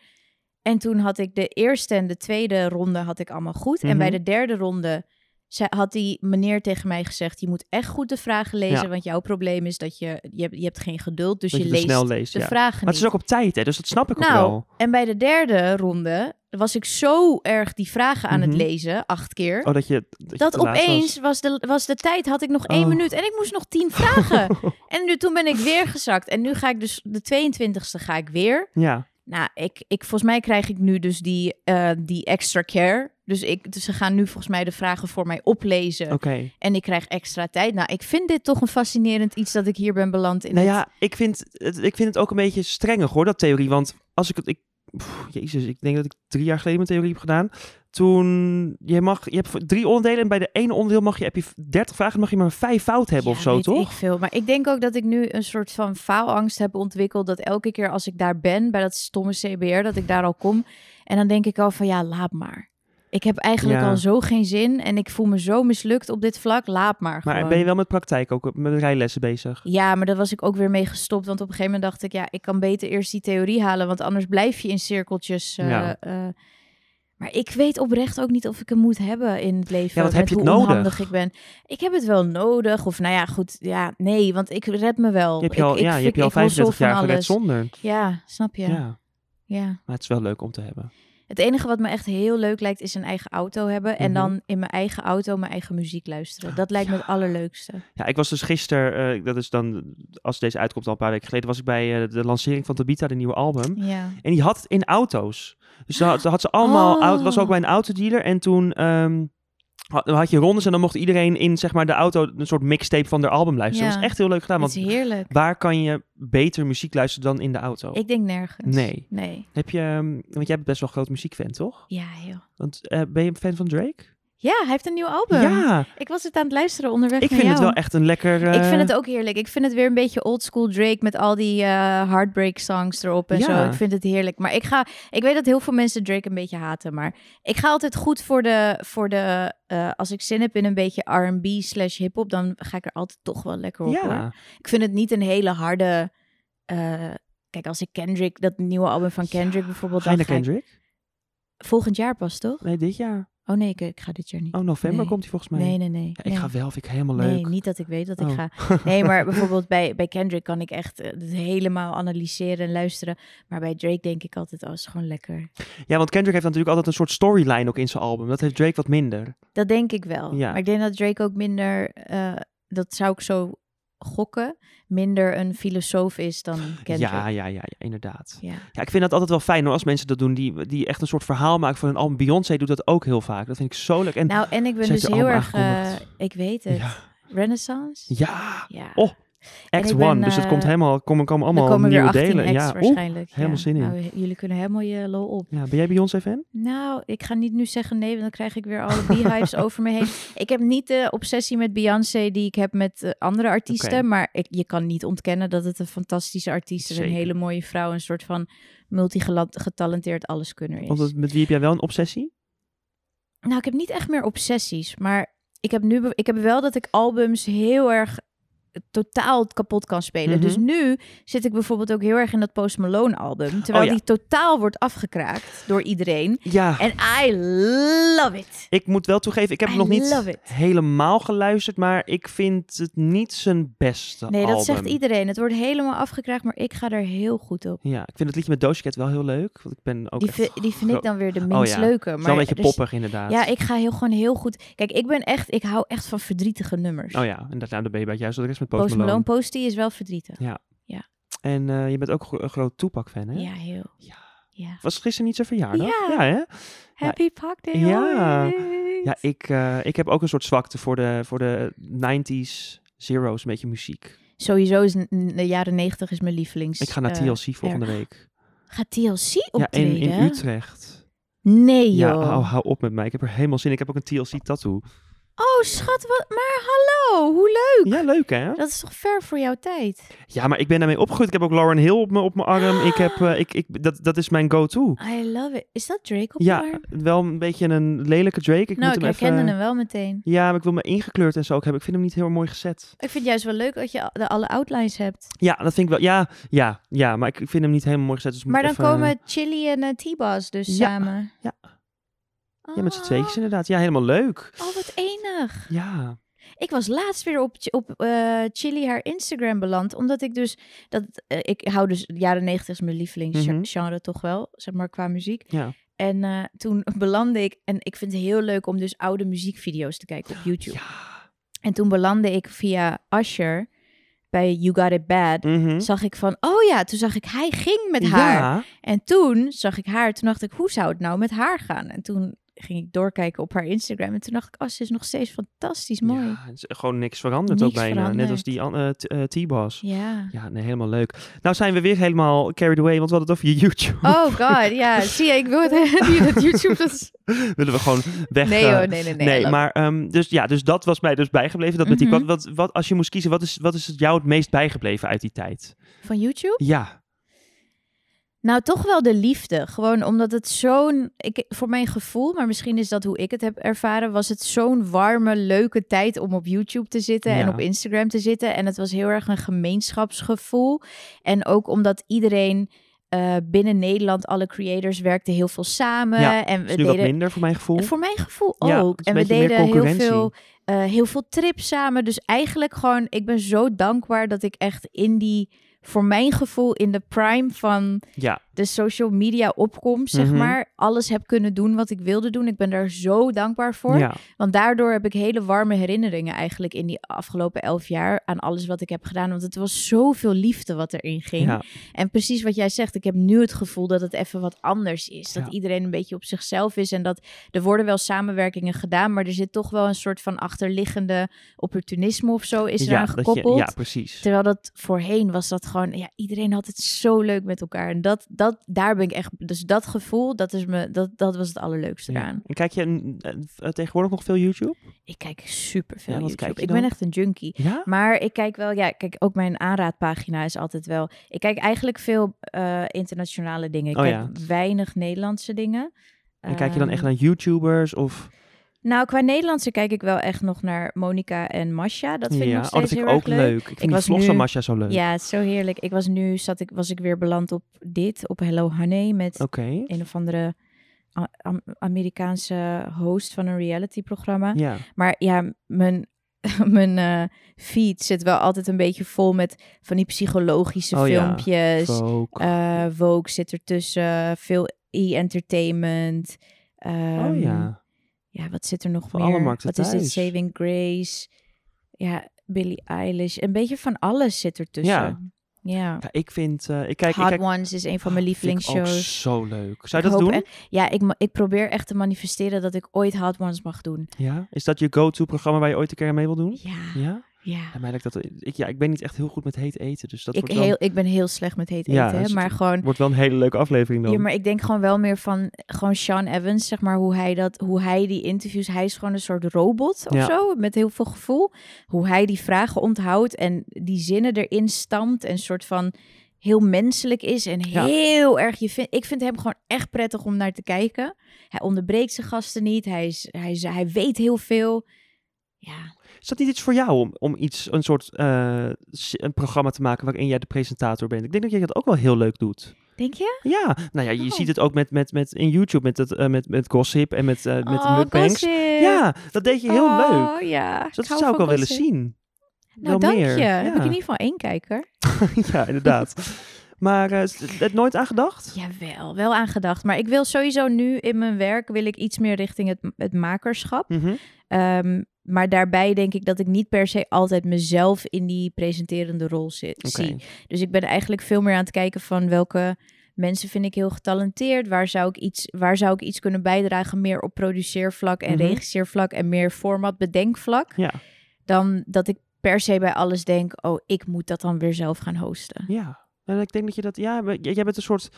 En toen had ik de eerste en de tweede ronde had ik allemaal goed. Mhm. En bij de derde ronde ze- had die meneer tegen mij gezegd... je moet echt goed de vragen lezen, Ja. want jouw probleem is dat je... je, hebt, je hebt geen geduld, dus dat je je het leest snel leest. de ja. vragen niet. Maar het is ook op tijd, hè? Dus dat snap ik ook Nou, wel. en bij de derde ronde was ik zo erg die vragen aan Mhm. het lezen, acht keer... Oh, dat je. Dat, je Dat te laat opeens was. de, was de tijd, had ik nog één Oh. minuut en ik moest nog tien vragen. en nu, toen ben ik weer gezakt. En nu ga ik dus, de 22e ga ik weer. was. Ja. Nou, ik, ik, volgens mij krijg ik nu dus die, eh, die extra care. Dus, ik, dus ze gaan nu volgens mij de vragen voor mij oplezen. Oké. En ik krijg extra tijd. Nou, ik vind dit toch een fascinerend iets dat ik hier ben beland in. Nou het- ja, ik vind, het, ik vind het ook een beetje strengig hoor, dat theorie. Want als ik het. Ik, pff, jezus, ik denk dat ik drie jaar geleden mijn theorie heb gedaan. Toen. Je, mag, je hebt voor drie onderdelen en bij de ene onderdeel mag je, heb je 30 vragen, dan mag je maar vijf fout hebben Ja, of zo, weet toch? Ik veel. Maar ik denk ook dat ik nu een soort van faalangst heb ontwikkeld. Dat elke keer als ik daar ben, bij dat stomme CBR, dat ik daar al kom. En dan denk ik al van ja, laat maar. Ik heb eigenlijk Ja. al zo geen zin en ik voel me zo mislukt op dit vlak. Laat maar. Maar gewoon. ben je wel met praktijk ook, met rijlessen bezig? Ja, maar daar was ik ook weer mee gestopt. Want op een gegeven moment dacht ik, ja, ik kan beter eerst die theorie halen. Want anders blijf je in cirkeltjes. eh, Ja. eh. maar ik weet oprecht ook niet of ik hem moet hebben in het leven. Ja, want heb met je het hoe nodig? onhandig ik ben. Ik heb het wel nodig. Of nou ja, goed. Ja, nee, want ik red me wel. Je hebt Ik- je al, ik ja, je fik- hebt je al ik los wel 35 jaar van gered alles. zonder. Ja, snap je. Ja. Ja. maar het is wel leuk om te hebben. Het enige wat me echt heel leuk lijkt, is een eigen auto hebben. En Mhm. dan in mijn eigen auto mijn eigen muziek luisteren. Dat lijkt me het allerleukste. Ja, ik was dus gisteren, eh, dat is dan, als deze uitkomt al een paar weken geleden, was ik bij eh, de lancering van Tabita, de nieuwe album. Ja. En die had het in auto's. Dus dan had, dan had ze allemaal, Oh. au- was ook bij een autodealer. En toen ehm, had, dan had je rondes en dan mocht iedereen in zeg maar, de auto een soort mixtape van haar album luisteren. Dat Ja. is echt heel leuk gedaan. Het is Want heerlijk. waar kan je beter muziek luisteren dan in de auto? Ik denk nergens. Nee. Nee. Heb je, ehm, want jij bent best wel een groot muziekfan, toch? Ja, heel. Want eh, ben je een fan van Drake? Ja, hij heeft een nieuw album. Ja, Ik was het aan het luisteren onderweg ik naar vind het wel jou. echt een lekker... Ik vind eh, het ook heerlijk. Ik vind het weer een beetje old school Drake met al die eh, heartbreak songs erop en Ja. zo. Ik vind het heerlijk. Maar ik ga, ik weet dat heel veel mensen Drake een beetje haten, maar ik ga altijd goed voor de, voor de, eh, als ik zin heb in een beetje R&B slash hip hop, dan ga ik er altijd toch wel lekker op. hoor. Ja, Ik vind het niet een hele harde. eh, kijk, als ik Kendrick, dat nieuwe album van Kendrick bijvoorbeeld, ga je dan naar ga ik- Kendrick? volgend jaar pas toch? Nee, dit jaar. Oh nee, ik, ik ga dit jaar niet. Oh, november Nee. komt hij volgens mij. nee, nee, nee. Ja, ik nee. ga wel, vind ik helemaal leuk. Nee, niet dat ik weet dat ik Oh. ga. Nee, maar bijvoorbeeld bij, bij Kendrick kan ik echt eh, het helemaal analyseren en luisteren. Maar bij Drake denk ik altijd, oh, is gewoon lekker. Ja, want Kendrick heeft natuurlijk altijd een soort storyline ook in zijn album. Dat heeft Drake wat minder. Dat denk ik wel. Ja. Maar ik denk dat Drake ook minder, eh, dat zou ik zo gokken, minder een filosoof is dan Kendrick. Ja, ja, ja, ja, inderdaad. Ja. Ja, ik vind dat altijd wel fijn hoor, als mensen dat doen, die, die echt een soort verhaal maken van hun album. Beyoncé doet dat ook heel vaak. Dat vind ik zo leuk. En Nou, en ik ben Ze dus heeft haar heel album erg, eh, aangekondigd. ik weet het, Ja. renaissance? ja, Ja. Oh, Act ik ben, 1, dus het eh, komt helemaal, komen, komen Dan allemaal komen er nieuwe weer 18 delen. acts ja, oeh. waarschijnlijk. helemaal ja. zin in. Nou, j- jullie kunnen helemaal je lol op. ja, ben jij Beyoncé-fan? Nou, ik ga niet nu zeggen nee, want dan krijg ik weer alle beehives over me heen. Ik heb niet de obsessie met Beyoncé die ik heb met eh, andere artiesten. Oké. Maar ik, je kan niet ontkennen dat het een fantastische artiest is. Een Zeker. hele mooie vrouw. Een soort van multigetalenteerd alleskunner is. Want dat- met wie heb jij wel een obsessie? Nou, ik heb niet echt meer obsessies. Maar ik heb nu be- ik heb wel dat ik albums heel erg eh, totaal kapot kan spelen. Mhm. Dus nu zit ik bijvoorbeeld ook heel erg in dat Post Malone album. Terwijl Oh ja. die totaal wordt afgekraakt door iedereen. Ja, En I love it. ik moet wel toegeven, ik heb I nog love niet it. helemaal geluisterd, maar ik vind het niet zijn beste Nee, dat album. zegt iedereen. Het wordt helemaal afgekraakt, maar ik ga daar heel goed op. Ja, ik vind het liedje met Doja Cat wel heel leuk, want ik ben ook Die, echt vi- die vind ik gro- dan weer de minst ja. leuke. Maar Het is wel een beetje er is- poppig inderdaad. Ja, ik ga heel gewoon heel goed. Kijk, ik ben echt, ik hou echt van verdrietige nummers. Oh ja, en dat, nou, dan ben je bij het juiste adres met Post, Post Malone, Malone. Post die is wel verdrietig. En eh, je bent ook gro- een groot Tupac-fan, hè? Ja, heel. Ja. ja. Was gisteren niet zijn verjaardag? Ja. hè? Happy Park Day. Ja. alright. Ja, ik, eh, ik heb ook een soort zwakte voor de, voor de 90s, zeros, een beetje muziek. Sowieso is n- n- de jaren 90 is mijn lievelings. Ik ga naar eh, TLC volgende week. Gaat TLC Ja, in, optreden? in Utrecht. Nee joh. Ja, oh. hou, hou op met mij. Ik heb er helemaal zin in. Ik heb ook een TLC-tattoo. Oh schat, wat? Maar hallo, hoe leuk. Ja, leuk hè? Dat is toch ver voor jouw tijd? Ja, maar ik ben daarmee opgegroeid. Ik heb ook Lauren Hill op mijn op mijn arm. Ik heb, eh, ik, ik, dat, dat is mijn go-to. I love it. Is dat Drake op je Ja, arm? wel een beetje een lelijke Drake. Ik nou, moet ik hem herkende even... hem wel meteen. Ja, maar ik wil me ingekleurd en zo ook hebben. Ik vind hem niet heel mooi gezet. Ik vind het juist wel leuk dat je al- de alle outlines hebt. Ja, dat vind ik wel. Ja, ja, ja. Maar ik ik vind hem niet helemaal mooi gezet. Dus ik Maar dan moet even... komen Chili en eh, T-Bas dus Ja, samen. ja. Ja, met z'n Ah, tweetjes inderdaad. Ja, helemaal leuk. Oh, wat enig. Ja. Ik was laatst weer op, op eh, Chili haar Instagram beland. Omdat ik dus. Dat, eh, ik hou dus. Jaren 90 is mijn Mhm. lievelingsgenre toch wel. Zeg maar qua muziek. Ja. En eh, toen belandde ik. En ik vind het heel leuk om dus oude muziekvideo's te kijken op YouTube. Ja. En toen belandde ik via Usher. Bij You Got It Bad. Mhm. Zag ik van. Oh ja, toen zag ik hij ging met haar. Ja. En toen zag ik haar. Toen dacht ik, hoe zou het nou met haar gaan? En toen ging ik doorkijken op haar Instagram. En toen dacht ik, oh, ze is nog steeds fantastisch mooi. Ja, het is gewoon niks veranderd Niks ook bijna. Net als veranderd. die an- eh, t- eh, T-Boss. ja. Ja, nee, helemaal leuk. Nou zijn we weer helemaal carried away, want we hadden het over je YouTube. Oh god, ja. Zie je, ik wil het niet dat YouTube dat is... Willen we gewoon weg... Nee eh, hoor, nee, nee, nee. nee, I love maar ehm, dus, ja, dus dat was mij dus bijgebleven. Dat met die, Mhm. wat, wat, wat, als je moest kiezen, wat is, wat is het jou het meest bijgebleven uit die tijd? it. Van YouTube? Ja, Nou, toch wel de liefde. Gewoon omdat het zo'n... Ik, voor mijn gevoel, maar misschien is dat hoe ik het heb ervaren... was het zo'n warme, leuke tijd om op YouTube te zitten... en Ja. op Instagram te zitten. En het was heel erg een gemeenschapsgevoel. En ook omdat iedereen... eh, binnen Nederland, alle creators werkten heel veel samen. Ja, en we is nu wat deden minder voor mijn gevoel. Voor mijn gevoel Ja, ook. het is en een we beetje meer deden heel concurrentie. veel, eh, heel veel trips samen. Dus eigenlijk gewoon, ik ben zo dankbaar dat ik echt in die, voor mijn gevoel, in de prime van Ja, de social media opkomst, zeg Mhm. maar, alles heb kunnen doen wat ik wilde doen. Ik ben daar zo dankbaar voor. ja. Want daardoor heb ik hele warme herinneringen eigenlijk in die afgelopen elf jaar aan alles wat ik heb gedaan. Want het was zoveel liefde wat erin ging. ja. En precies wat jij zegt, ik heb nu het gevoel dat het even wat anders is. Dat Ja. iedereen een beetje op zichzelf is en dat er worden wel samenwerkingen gedaan, maar er zit toch wel een soort van achterliggende opportunisme of zo is ja, eraan dat je- gekoppeld. ja, precies. Terwijl dat voorheen was dat gewoon, ja, iedereen had het zo leuk met elkaar. En dat, dat, daar ben ik echt, dus dat gevoel, dat, is me, dat, dat was het allerleukste Ja. eraan. En kijk je mm, eh, v- eh, tegenwoordig nog veel YouTube? Ik kijk superveel Ja, wat YouTube. kijk je ik dan? ben echt een junkie. Ja? Maar ik kijk wel, ja, kijk, ook mijn aanraadpagina is altijd wel. Ik kijk eigenlijk veel eh, internationale dingen. Ik Oh kijk ja. weinig Nederlandse dingen. En kijk je dan echt Ehm, naar YouTubers of... Nou, qua Nederlandse kijk ik wel echt nog naar Monica en Masha. Dat vind ik ja, nog oh, steeds dat vind ik heel ook erg leuk. leuk. Ik vind die was vlogs van nu- Masha zo leuk. Ja, het is zo heerlijk. Ik was nu, zat ik, was ik weer beland op dit, op Hello Honey met Oké. een of andere A- Am- Amerikaanse host van een realityprogramma. Ja. Maar ja, mijn, mijn eh, feed zit wel altijd een beetje vol met van die psychologische Oh ja, filmpjes. Folk. Dus, Eh, Woke zit ertussen, veel e-entertainment. oh Ehm, ja. ja, wat zit er nog Voor meer? alle markten wat is dit? thuis. Saving Grace. Ja, Billie Eilish. Een beetje van alles zit ertussen. Ja. ja. Ik vind... eh, ik kijk, Hot ik kijk Ones is een van mijn Oh, vind ik ook lievelingsshows. zo leuk. Zou je Ik hoop dat doen? echt- ja, ik, ma- ik probeer echt te manifesteren dat ik ooit Hot Ones mag doen. Hm? Ja. Is dat je go-to programma waar je ooit een keer aan mee wil doen? Ja. Ja? Ja. En mij lijkt dat, ik, ja, ik ben niet echt heel goed met heet eten, dus dat Ik, wordt, wel, heel, ik ben heel slecht met heet eten, Ja, hè, dus maar gewoon... wordt wel een hele leuke aflevering dan. Ja, maar ik denk gewoon wel meer van gewoon Sean Evans, zeg maar, hoe hij dat, hoe hij die interviews, hij is gewoon een soort robot of Ja. zo, met heel veel gevoel. Hoe hij die vragen onthoudt en die zinnen erin stampt en soort van heel menselijk is en Ja. heel erg, je vind, ik vind hem gewoon echt prettig om naar te kijken. Hij onderbreekt zijn gasten niet, hij, is, hij, is, hij weet heel veel. Ja, Is dat niet iets voor jou om, om iets, een soort eh, s- een programma te maken waarin jij de presentator bent? Ik denk dat jij dat ook wel heel leuk doet. denk je? Ja, nou ja, Oh. je ziet het ook met, met, met in YouTube, met, dat, eh, met, met gossip en met, eh met Oh, mukbangs. gossip. Ja, dat deed je heel leuk. Oh, ja. Dus dat ik hou zou ik van wel willen gossip. zien. Nou, wel dank meer. je. Ja. Heb ik in ieder geval één kijker. ja, inderdaad. Maar eh, is het nooit aan gedacht? Jawel, wel aan gedacht. Maar ik wil sowieso nu in mijn werk wil ik iets meer richting het, het makerschap. Mhm. Ehm, maar daarbij denk ik dat ik niet per se altijd mezelf in die presenterende rol zit, Oké. zie. Dus ik ben eigenlijk veel meer aan het kijken van welke mensen vind ik heel getalenteerd. Waar zou ik iets, waar zou ik iets kunnen bijdragen meer op produceervlak en Mhm. regisseervlak en meer format bedenkvlak. Ja. Dan dat ik per se bij alles denk, oh, ik moet dat dan weer zelf gaan hosten. Ja, en ik denk dat je dat... Ja, maar j- jij bent een soort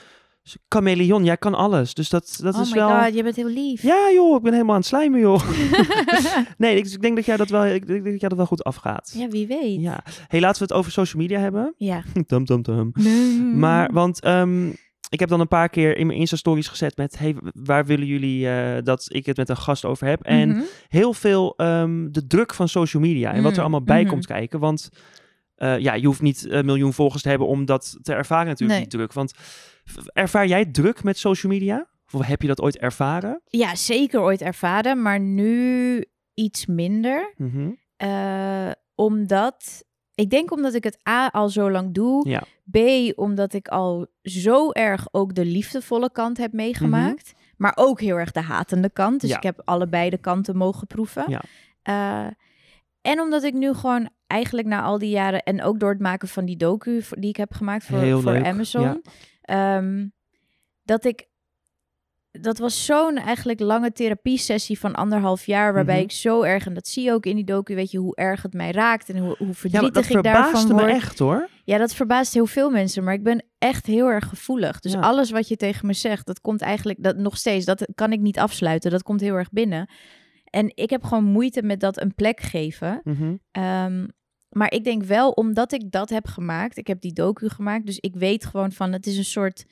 chameleon. Jij kan alles. Dus dat, dat oh is my wel... god, je bent heel lief. Ja joh, ik ben helemaal aan het slijmen joh. nee, ik, ik denk dat jij dat wel, ik denk dat jij dat wel goed afgaat. Ja, wie weet. Ja. hey, laten we het over social media hebben. Ja. Dum, dum, dum. Mm. Maar, want ehm, ik heb dan een paar keer in mijn Insta-stories gezet met... hey, waar willen jullie eh, dat ik het met een gast over heb? En Mhm. heel veel ehm, de druk van social media... en wat er Mm, allemaal bij mhm. komt kijken. Want eh, ja, je hoeft niet een miljoen volgers te hebben om dat te ervaren natuurlijk, Nee. die druk. Want v- ervaar jij druk met social media? Of heb je dat ooit ervaren? Ja, zeker ooit ervaren, maar nu iets minder. Mhm. Eh, omdat, ik denk omdat ik het A al zo lang doe. Ja. B, omdat ik al zo erg ook de liefdevolle kant heb meegemaakt. Maar ook heel erg de hatende kant. Dus Mhm. Ja. ik heb allebei de kanten mogen proeven. Ja. Eh, en omdat ik nu gewoon eigenlijk na al die jaren... en ook door het maken van die docu voor- die ik heb gemaakt Heel voor, voor leuk, Amazon... ja. ehm, dat ik... Dat was zo'n eigenlijk lange therapie-sessie van anderhalf jaar... waarbij Mhm. ik zo erg, en dat zie je ook in die docu... weet je, hoe erg het mij raakt en hoe, hoe Ja, maar dat verdrietig ik daarvan verbaasde me word. echt hoor. Ja, dat verbaast heel veel mensen, maar ik ben echt heel erg gevoelig. Dus Ja. alles wat je tegen me zegt, dat komt eigenlijk dat nog steeds, dat kan ik niet afsluiten. Dat komt heel erg binnen. En ik heb gewoon moeite met dat een plek geven. Mhm. Ehm, maar ik denk wel, omdat ik dat heb gemaakt, ik heb die docu gemaakt, dus ik weet gewoon van, het is een soort.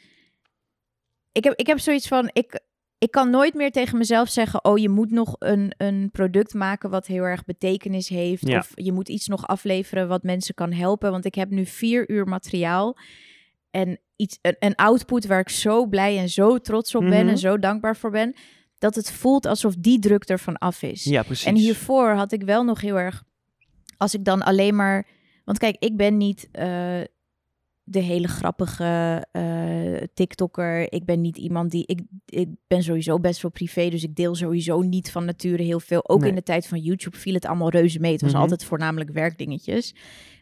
Ik heb, ik heb zoiets van, ik, ik kan nooit meer tegen mezelf zeggen, oh je moet nog een, een product maken wat heel erg betekenis heeft. Ja. Of je moet iets nog afleveren wat mensen kan helpen. Want ik heb nu vier uur materiaal en iets, een, een output waar ik zo blij en zo trots op ben Mhm. en zo dankbaar voor ben. Dat het voelt alsof die druk ervan af is. Ja, precies. En hiervoor had ik wel nog heel erg. Als ik dan alleen maar. Want kijk, ik ben niet eh, de hele grappige eh, TikToker. Ik ben niet iemand die. Ik, ik ben sowieso best wel privé. Dus ik deel sowieso niet van nature heel veel. Ook Nee. in de tijd van YouTube viel het allemaal reuze mee. Het was Mhm. altijd voornamelijk werkdingetjes.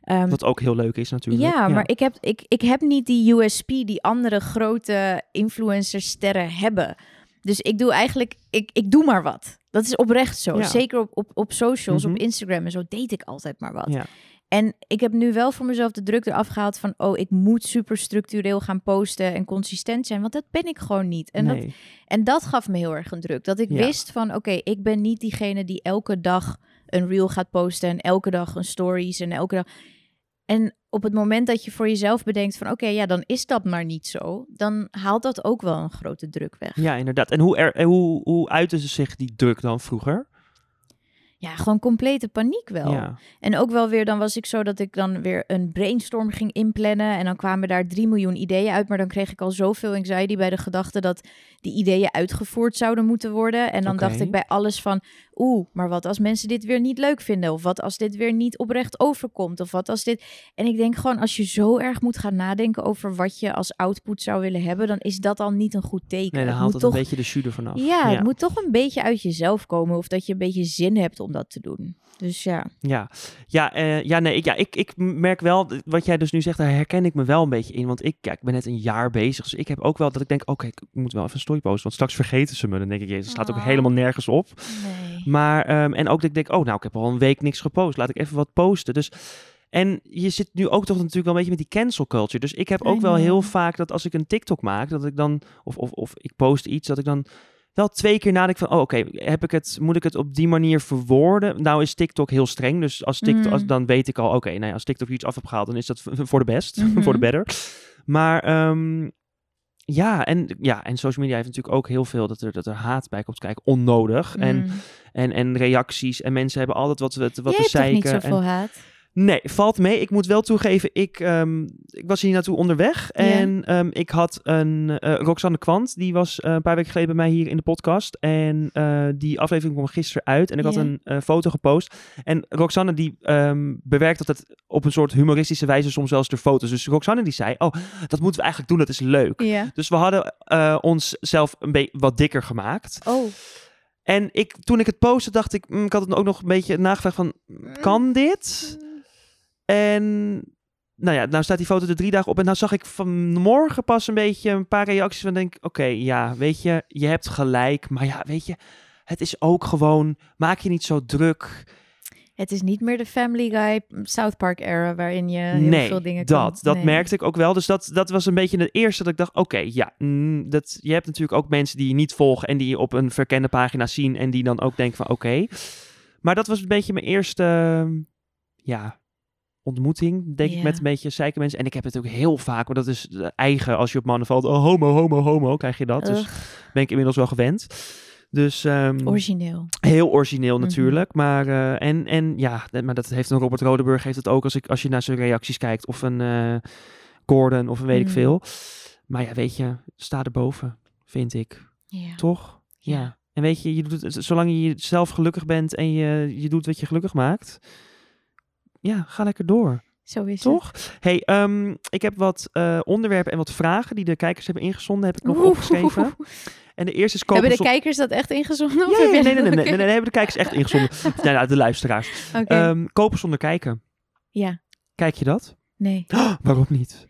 Ehm, Wat ook heel leuk is natuurlijk. ja, maar ik heb, ik, ik heb niet die USP die andere grote influencersterren hebben. Dus ik doe eigenlijk, ik, ik doe maar wat. Dat is oprecht zo. Ja. Zeker op, op, op socials, Mhm. op Instagram en zo deed ik altijd maar wat. Ja. En ik heb nu wel voor mezelf de druk eraf gehaald van... oh, ik moet super structureel gaan posten en consistent zijn. Want dat ben ik gewoon niet. En, dat, nee. en dat gaf me heel erg een druk. Dat ik Ja. wist van, oké, ik ben niet diegene die elke dag een reel gaat posten en elke dag een stories en elke dag. En op het moment dat je voor jezelf bedenkt van, oké, ja, dan is dat maar niet zo, dan haalt dat ook wel een grote druk weg. Ja, inderdaad. En hoe, er, en hoe, hoe uiten ze zich die druk dan vroeger? Ja, gewoon complete paniek wel. Ja. En ook wel weer, dan was ik zo dat ik dan weer een brainstorm ging inplannen. En dan kwamen daar drie miljoen ideeën uit. Maar dan kreeg ik al zoveel anxiety bij de gedachte dat die ideeën uitgevoerd zouden moeten worden. En dan Oké. dacht ik bij alles van, oeh, maar wat als mensen dit weer niet leuk vinden? Of wat als dit weer niet oprecht overkomt? Of wat als dit... En ik denk gewoon, als je zo erg moet gaan nadenken over wat je als output zou willen hebben, dan is dat al niet een goed teken. Nee, dan Het haalt moet het toch een beetje de jus ervan af. ja, het moet toch een beetje uit jezelf komen. Of dat je een beetje zin hebt om dat te doen. Dus ja. Ja, ja, eh, ja, nee, ik, ja ik, ik merk wel, d- wat jij dus nu zegt, daar herken ik me wel een beetje in. Want ik, ja, ik ben net een jaar bezig, dus ik heb ook wel dat ik denk, oké, ik moet wel even een story posten. Want straks vergeten ze me, dan denk ik, jezus, het slaat ook Oh. helemaal nergens op. Nee. Maar, ehm, en ook dat ik denk, oh, nou, ik heb al een week niks gepost. Laat ik even wat posten. Dus, en je zit nu ook toch natuurlijk wel een beetje met die cancel culture. Dus ik heb I ook wel heel know. vaak dat als ik een TikTok maak, dat ik dan, of, of, of ik post iets, dat ik dan wel twee keer nadenk van, oh, oké, heb ik het, moet ik het op die manier verwoorden? Nou is TikTok heel streng, dus als TikTok, Mm. als, dan weet ik al, oké, nou ja, als TikTok iets af heb gehaald, dan is dat v- voor de best, voor Mhm. de better. Maar ehm, ja, en, ja, en social media heeft natuurlijk ook heel veel dat er, dat er haat bij komt kijken, onnodig. En Mm. en, en reacties. En mensen hebben altijd wat, wat, wat Jij te hebt toch niet zeiken. zoveel En... haat? Nee, valt mee. Ik moet wel toegeven, ik, ehm, ik was hier naartoe onderweg. Ja. En ehm, ik had een eh Roxanne Kwant, die was eh, een paar weken geleden bij mij hier in de podcast. En eh, die aflevering kwam gisteren uit. En ik Ja. had een eh, foto gepost. En Roxanne die ehm, bewerkt dat het op een soort humoristische wijze soms zelfs de foto's. Dus Roxanne die zei, oh, dat moeten we eigenlijk doen, dat is leuk. Ja. Dus we hadden eh onszelf een beetje wat dikker gemaakt. Oh. En ik, toen ik het postte, dacht ik, mm, ik had het ook nog een beetje nagevraagd van, kan dit? En nou ja, nou staat die foto er drie dagen op. En nou zag ik vanmorgen pas een beetje een paar reacties van, denk, oké, ja, weet je, je hebt gelijk. Maar ja, weet je, het is ook gewoon, maak je niet zo druk. Het is niet meer de Family Guy mm, South Park era waarin je eh, heel nee, veel dingen dat, kan. dat Nee. merkte ik ook wel. Dus dat, dat was een beetje het eerste dat ik dacht, oké, ja, mm, dat, je hebt natuurlijk ook mensen die je niet volgen en die je op een verkende pagina zien en die dan ook denken van, oké. Maar dat was een beetje mijn eerste, ehm, ja, ontmoeting, denk Ja. ik, met een beetje zeiken mensen. En ik heb het ook heel vaak, want dat is eh, eigen, als je op mannen valt, oh, homo, homo, homo, krijg je dat. Dus Ugh, ben ik inmiddels wel gewend. Dus ehm, origineel. Heel origineel Mhm. natuurlijk. Maar, eh, en, en ja, dat- maar dat heeft een Robert Rodenburg heeft het ook als, ik, als je naar zijn reacties kijkt. Of een eh, Gordon of een weet ik Mm. veel. Maar ja, weet je, sta erboven, vind ik. Ja. Toch? Ja. En weet je, je doet het, zolang je zelf gelukkig bent en je, je doet wat je gelukkig maakt. Ja, ga lekker door. Zo is Toch? hey, ehm, ik heb wat eh, onderwerpen en wat vragen die de kijkers hebben ingezonden. Heb ik het. nog Oeh. opgeschreven. En de eerste is kopen Hebben de zon- kijkers dat echt ingezonden? Of ja, ja, heb jij nee, nee, nee, dat- nee, nee, nee, Oké. nee, hebben de kijkers echt ingezonden. Of nou, nou, de luisteraars. Oké. Ehm, kopen zonder kijken. ja, Kijk je dat? nee. Waarom niet?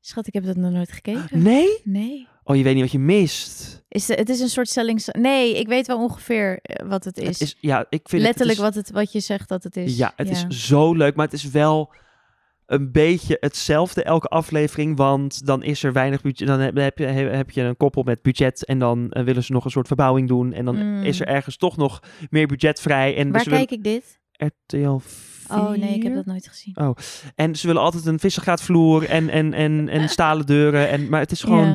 Schat, ik heb dat nog nooit gekeken. Nee? Nee. Oh, je weet niet wat je mist. Is, de- het is een soort sellings... Nee, ik weet wel ongeveer eh, wat het is. Het is, ja, ik vind Letterlijk het, wat, het, wat je zegt dat het het is, is. Ja, het is zo leuk, maar het is wel een beetje hetzelfde elke aflevering, want dan is er weinig budget, dan heb, heb je, heb je een koppel met budget en dan eh, willen ze nog een soort verbouwing doen en dan Mm. is er ergens toch nog meer budget vrij. En dus Waar ze kijk ik dit? willen RTL 4? Oh nee, ik heb dat nooit gezien. En ze willen altijd een vissengraatvloer en, en, en, en stalen deuren. En, maar het is gewoon, Ja.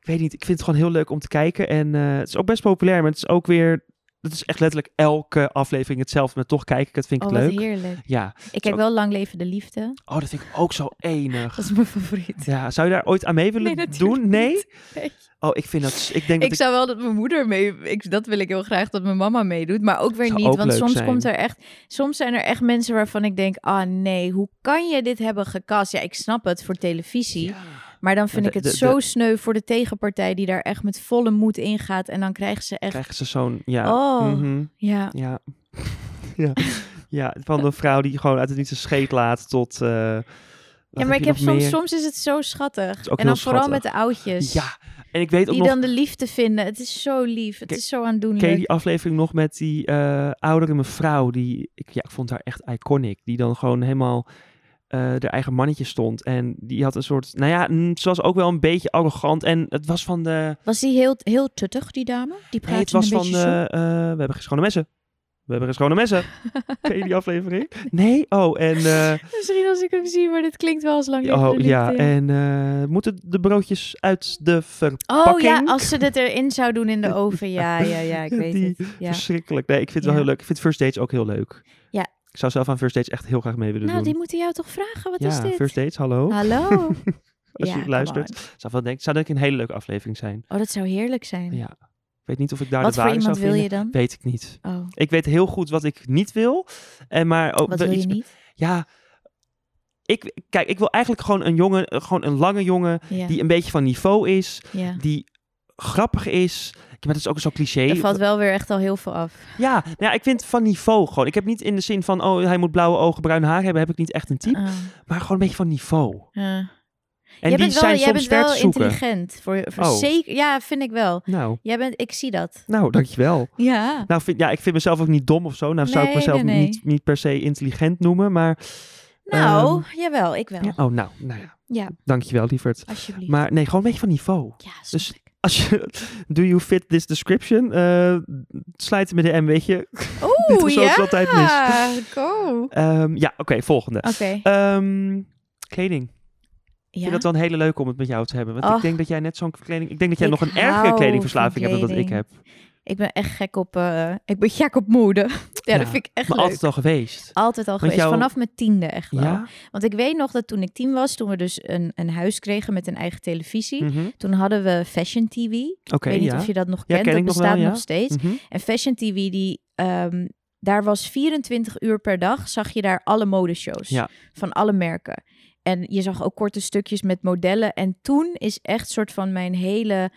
ik weet niet, ik vind het gewoon heel leuk om te kijken. En eh, het is ook best populair, maar het is ook weer, het is echt letterlijk elke aflevering hetzelfde. Maar toch kijk ik het, vind Oh, ik wat het leuk. heerlijk. Ja, Ik kijk ook- wel Lang Leven de Liefde. oh, dat vind ik ook zo enig. Dat is mijn favoriet. Ja, zou je daar ooit aan mee willen Nee, natuurlijk doen? Nee? niet. Nee. Oh, ik vind dat, ik denk dat Ik ik, zou wel dat mijn moeder mee... Ik, dat wil ik heel graag dat mijn mama meedoet. Maar ook weer Zou niet. ook want leuk soms zijn. komt er echt... Soms zijn er echt mensen waarvan ik denk... Ah nee, hoe kan je dit hebben gekast? Ja, ik snap het voor televisie. Ja, Maar dan vind de- ik het de- de- zo sneu voor de tegenpartij... die daar echt met volle moed ingaat. En dan krijgen ze echt... krijgen ze zo'n, ja. Oh. mhm, Ja, ja. ja. Ja, van een vrouw die gewoon uit het niets een scheet laat tot... eh, wat ja maar ik je heb nog soms... meer? Soms is het zo schattig. is ook en dan heel vooral met schattig. de oudjes. Ja, en ik weet ook Dus Die nog... dan de liefde vinden. Het is zo lief. Het Ken- is zo Ken je aandoenlijk. die aflevering nog met die eh, oudere mevrouw? Die, ik, ja, ik vond haar echt iconic. Die dan gewoon helemaal eh haar eigen mannetje stond. En die had een soort... Nou ja, mm, ze was ook wel een beetje arrogant. En het was van de... Was die heel, heel tuttig, die dame? Die Nee, het praatte was een van beetje de... zo. eh, we hebben geen schone messen. We hebben geen schone messen. Ken je die aflevering? Nee? Oh, en... eh, Misschien als ik hem zie, maar dit klinkt wel als lang leven oh, de ja, liefde. en... eh, moeten de broodjes uit de verpakking? Oh ja, als ze dit erin zou doen in de oven. Ja, ja, ja, ik weet Die- het. Ja. Verschrikkelijk. Nee, ik vind het wel Ja. heel leuk. Ik vind First Dates ook heel leuk. Ja. Ik zou zelf aan First Dates echt heel graag mee willen Nou, doen. die moeten jou toch vragen? Wat ja, is dit? First Dates, hallo. Hallo? Als je Ja, luistert. come Zou, wel denk, zou denk ik een hele leuke aflevering zijn. on. Oh, dat zou heerlijk zijn. Ja. Ik weet niet of ik daar Wat de voor waarde iemand zou wil vinden. je dan? Weet ik niet. Oh, Ik weet heel goed wat ik niet wil. En maar ook wat wel wil je iets- niet? Ja. Ik, kijk, ik wil eigenlijk gewoon een jongen, eh, gewoon een lange jongen Ja, die een beetje van niveau is, ja. die grappig is. Ik maar dat is ook zo cliché. Er valt wel weer echt al heel veel af. Ja, nou ja, ik vind van niveau gewoon. Ik heb niet in de zin van, oh, hij moet blauwe ogen, bruin haar hebben, heb ik niet echt een type. Ah, Maar gewoon een beetje van niveau. ja. En jij die bent wel, zijn jij soms bent ver wel te zoeken. intelligent. Voor, voor Oh. zeker, ja, vind ik wel. Nou, Jij bent, ik zie dat. nou, dankjewel. Ja. Nou, vind, ja, ik vind mezelf ook niet dom of zo. Nou, zou ik Nee, mezelf nee, nee. Niet, niet per se intelligent noemen, maar... Nou, jawel, ik wel. Ehm, ja, Ja, oh, nou, nou ja. Dankjewel, lieverd. alsjeblieft. Maar nee, gewoon een beetje van niveau. ja, snap dus- ik. Als je, do you fit this description? Eh slijt me de M, weet je. Dit Oeh, is zoals altijd mis. ja. Go. Oké. Ehm, ja, oké, volgende. Ehm, kleding. ja. Ik vind dat wel een hele leuk om het met jou te hebben. Want ik Och. denk dat jij net zo'n kleding... Ik denk dat jij Ik nog een hou ergere van kledingverslaving hebt dan dat ik kleding. heb. Ik ben echt gek op, eh, ik ben gek op mode. ja, Ja, dat vind ik echt Maar leuk. altijd al geweest. Altijd al geweest, jouw- vanaf mijn tiende echt wel. Ja? Want ik weet nog dat toen ik tien was, toen we dus een, een huis kregen met een eigen televisie. Mhm. Oké, Toen hadden we Fashion TV. Ik weet niet ja. of je dat nog Ja, kent, ken dat ik nog wel, bestaat ja. nog steeds. Mhm. En Fashion TV, die, ehm, daar was 24 uur per dag, zag je daar alle modeshows Ja. van alle merken. En je zag ook korte stukjes met modellen. En toen is echt soort van mijn hele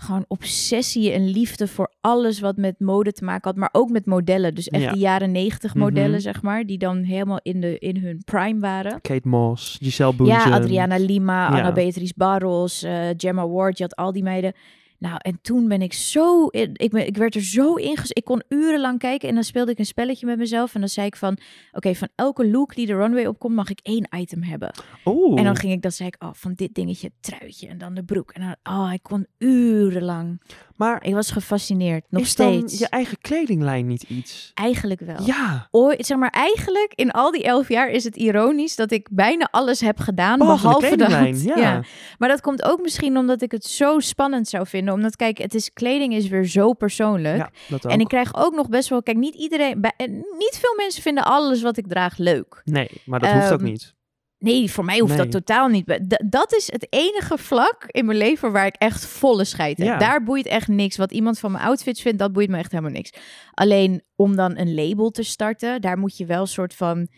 gewoon obsessie en liefde voor alles wat met mode te maken had. Maar ook met modellen. Dus echt Ja. de jaren 90 modellen, Mhm. zeg maar. Die dan helemaal in, de, in hun prime waren. Kate Moss, Giselle Bundchen. Ja, Adriana Lima, Ja. Anna Beatrice Barros, eh, Gemma Ward, je had al die meiden. Nou, en toen ben ik zo... in- ik, ben, ik werd er zo in ges- Ik kon urenlang kijken en dan speelde ik een spelletje met mezelf. En dan zei ik van, oké, van elke look die de runway opkomt, mag ik één item hebben. Oeh. En dan ging ik, dan zei ik, oh, van dit dingetje, het truitje en dan de broek. En dan, oh, ik kon urenlang. maar Ik was gefascineerd, nog is steeds. dan je eigen kledinglijn niet iets? Eigenlijk wel. Ja. Ooit, zeg maar, eigenlijk in al die elf jaar is het ironisch dat ik bijna alles heb gedaan, Behalve de behalve dat. Oh, kledinglijn, ja. Maar dat komt ook misschien omdat ik het zo spannend zou vinden. Omdat, kijk, het is, kleding is weer zo persoonlijk. ja dat ook. en ik krijg ook nog best wel, kijk, niet iedereen, bij, eh, niet veel mensen vinden alles wat ik draag leuk. Nee, maar dat hoeft ook Ehm, niet. Nee, voor mij hoeft Nee. dat totaal niet. D- dat is het enige vlak in mijn leven waar ik echt volle scheid heb. Ja. Daar boeit echt niks. Wat iemand van mijn outfits vindt, dat boeit me echt helemaal niks. Alleen om dan een label te starten, daar moet je wel een soort van...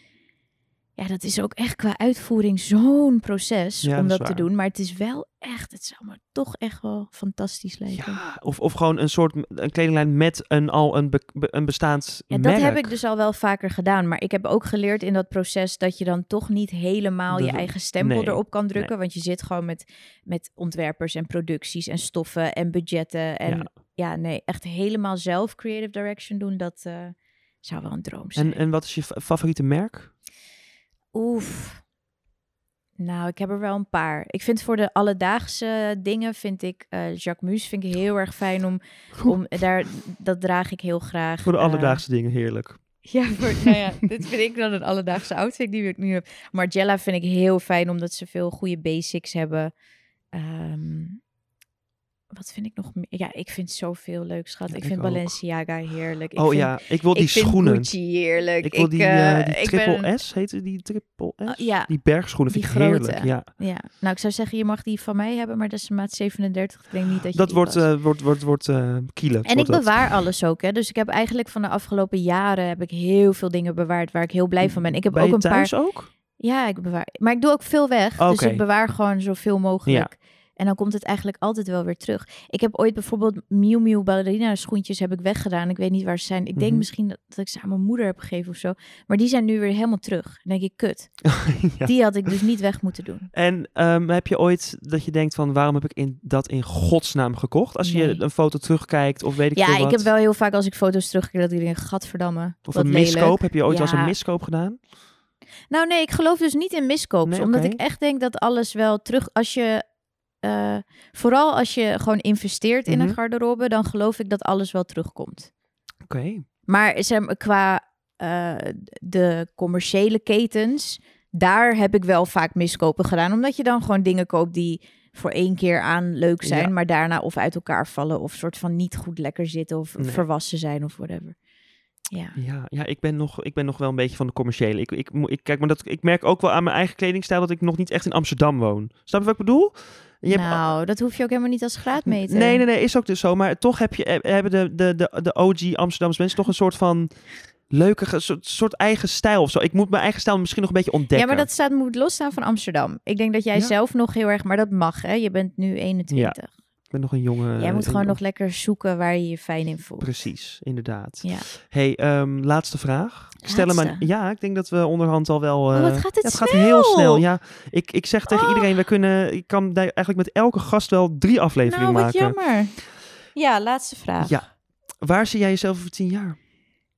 Ja, dat is ook echt qua uitvoering zo'n proces Ja, dat om is dat, te waar. doen. Maar het is wel echt, het zou me toch echt wel fantastisch lijken. Ja, Ja, of, of gewoon een soort m- een kledinglijn met een, al een, be- be- een bestaand dat merk. heb ik dus al wel vaker gedaan. Maar ik heb ook geleerd in dat proces dat je dan toch niet helemaal je Dat- eigen stempel nee, erop kan drukken. Want je zit gewoon met, met ontwerpers en producties en stoffen en budgetten. En ja, Ja. nee, echt helemaal zelf creative direction doen, dat eh, zou wel een droom zijn. En, en wat is je fa- favoriete merk? Oef. Nou, ik heb er wel een paar. Ik vind voor de alledaagse dingen vind ik eh Jacques Mus vind ik heel erg fijn om, om daar dat draag ik heel graag. Voor de Eh, alledaagse dingen, heerlijk. ja, voor, nou ja, dit vind ik dan een alledaagse outfit die ik nu heb. Margiela vind ik heel fijn omdat ze veel goede basics hebben. Ehm, wat vind ik nog meer? Ja, ik vind zoveel leuk, schat. Ja, ik ik vind ook. Balenciaga heerlijk. Ik oh vind, ja, ik wil die ik vind schoenen. Gucci heerlijk. Ik wil die, eh, eh, die ik ben triple een- S, heette die triple S? Oh, ja. Die bergschoenen Die vind ik heerlijk. grote. Ja. Ja, nou ik zou zeggen, je mag die van mij hebben, maar dat is een maat 37. Ik denk niet dat je Dat die wordt, past. eh wordt, wordt, wordt eh kielen. en ik wordt dat. bewaar alles ook, hè. Dus ik heb eigenlijk van de afgelopen jaren heb ik heel veel dingen bewaard waar ik heel blij van ben. Ik heb Ben ook je een paar. thuis ook? Ja, ik bewaar. Maar ik doe ook veel weg. Dus Oké. ik bewaar gewoon zoveel mogelijk. En dan komt het eigenlijk altijd wel weer terug. Ik heb ooit bijvoorbeeld Miu Miu ballerina schoentjes heb ik weggedaan. Ik weet niet waar ze zijn. Ik denk Mhm. misschien dat, dat ik ze aan mijn moeder heb gegeven of zo. Maar die zijn nu weer helemaal terug. Dan denk ik, kut. Ja. Die had ik dus niet weg moeten doen. En ehm, heb je ooit dat je denkt van waarom heb ik in, dat in godsnaam gekocht? Als je Nee. een foto terugkijkt of weet ik veel ja, ik wat. heb wel heel vaak als ik foto's terugkijk dat ik denk, gadverdamme. Of wat een lelijk. miskoop. Heb je ooit als een Ja. miskoop gedaan? Nou nee, ik geloof dus niet in miskoop. Nee, omdat oké. ik echt denk dat alles wel terug... Als je, eh, vooral als je gewoon investeert in Mhm. een garderobe... dan geloof ik dat alles wel terugkomt. Oké. Maar zeg maar, qua eh, de commerciële ketens... daar heb ik wel vaak miskopen gedaan. Omdat je dan gewoon dingen koopt die voor één keer aan leuk zijn... Ja. maar daarna of uit elkaar vallen... of soort van niet goed lekker zitten of Nee. verwassen zijn of whatever. Ja. Ja, ja ik, ben nog, ik ben nog wel een beetje van de commerciële. Ik, ik, moet- ik, kijk, maar dat, ik merk ook wel aan mijn eigen kledingstijl dat ik nog niet echt in Amsterdam woon. Snap je wat ik bedoel? Je hebt- nou, dat hoef je ook helemaal niet als graadmeter. Nee, nee, nee, is ook dus zo. Maar toch heb je, eh, hebben de, de, de, de OG Amsterdamse mensen toch een soort van leuke, ge- soort, soort eigen stijl of zo. Ik moet mijn eigen stijl misschien nog een beetje ontdekken. Ja, maar dat staat, moet losstaan van Amsterdam. Ik denk dat jij Ja. zelf nog heel erg, maar dat mag, hè? Je bent nu 21. ben nog een jonge... Jij moet gewoon een- nog lekker zoeken waar je je fijn in voelt. Precies, inderdaad. Ja. Hey, ehm, laatste vraag. Ik Stel hem aan, Laatste? ja, ik denk dat we onderhand al wel. eh, Oh, wat gaat dit ja, het gaat heel snel. snel. Ja, ik, ik zeg tegen Oh. iedereen, we kunnen, ik kan daar eigenlijk met elke gast wel drie afleveringen Nou, wat maken. jammer. Ja, laatste vraag. Ja. Waar zie jij jezelf over tien jaar?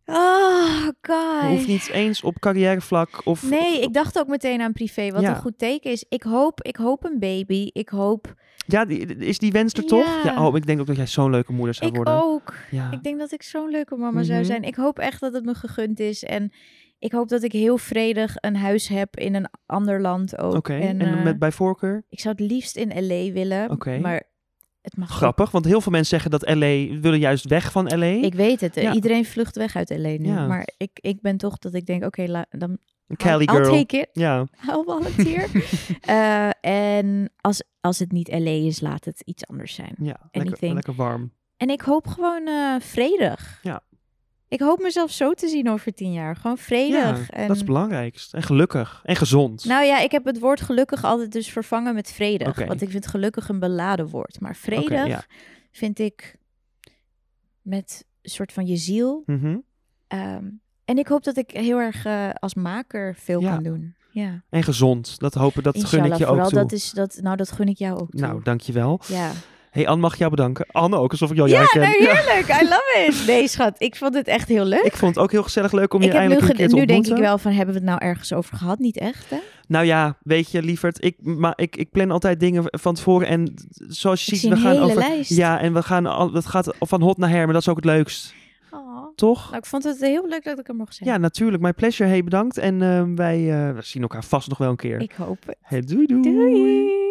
Oh, god. Hoeft niet eens op carrièrevlak of. Nee, ik dacht ook meteen aan privé. Wat Ja. een goed teken is. Ik hoop, ik hoop een baby. Ik hoop. Ja, die- is die wens er toch? Ja. Ja, oh, ik denk ook dat jij zo'n leuke moeder zou ik worden. ook. Ja. Ik denk dat ik zo'n leuke mama zou Mhm. zijn. Ik hoop echt dat het me gegund is. En ik hoop dat ik heel vredig een huis heb in een ander land ook. Oké. En, En, eh, met bij voorkeur? Ik zou het liefst in LA willen. Oké. Maar het mag ook. Grappig, want heel veel mensen zeggen dat LA willen juist weg van LA. Ik weet het. eh, Ja. Iedereen vlucht weg uit LA nu. Ja. Maar ik, ik ben toch dat ik denk, oké, la- dan Cali I'll, I'll girl. take it. Ja. I'll volunteer. Eh, en als, als het niet LA is, laat het iets anders zijn. Ja. Lekker, Anything. lekker warm. En ik hoop gewoon eh, vredig. Ja. Ik hoop mezelf zo te zien over tien jaar. Gewoon Ja, vredig. en... dat is het belangrijkst. En gelukkig. En gezond. Nou ja, ik heb het woord gelukkig altijd dus vervangen met vredig. Oké. Want ik vind gelukkig een beladen woord. Maar vredig ja. vind ik met een soort van je ziel. Mhm. Ehm, en ik hoop dat ik heel erg eh, als maker veel Ja. kan doen. Ja. En gezond. Dat hopen, dat gun ik Inshallah, je ook vooral toe. dat is dat. Nou, dat gun ik jou ook. Toe. Nou, dankjewel. ja. hey, Anne, mag ik jou bedanken? Anne ook, alsof ik jou jij ja, ken. nou, Ja. heerlijk. I love it. Nee, schat. Ik vond het echt heel leuk. Ik vond het ook heel gezellig leuk om je ik heb nu, eindelijk een keer ge- te nu denk ontmoeten. ik wel van, hebben we het nou ergens over gehad? Niet echt, hè? Nou ja, weet je, lieverd, ik, maar ik, ik plan altijd dingen van tevoren. En zoals ik je ziet, zie we een gaan hele over... lijst. Ja, en we gaan al, het gaat van hot naar her, maar dat is ook het leukst. Oh. Toch? Nou, ik vond het heel leuk dat ik er mocht zijn. Ja, natuurlijk. My pleasure. Hey, bedankt. En ehm, wij eh, we zien elkaar vast nog wel een keer. Ik hoop het. Hey, doei. Doei!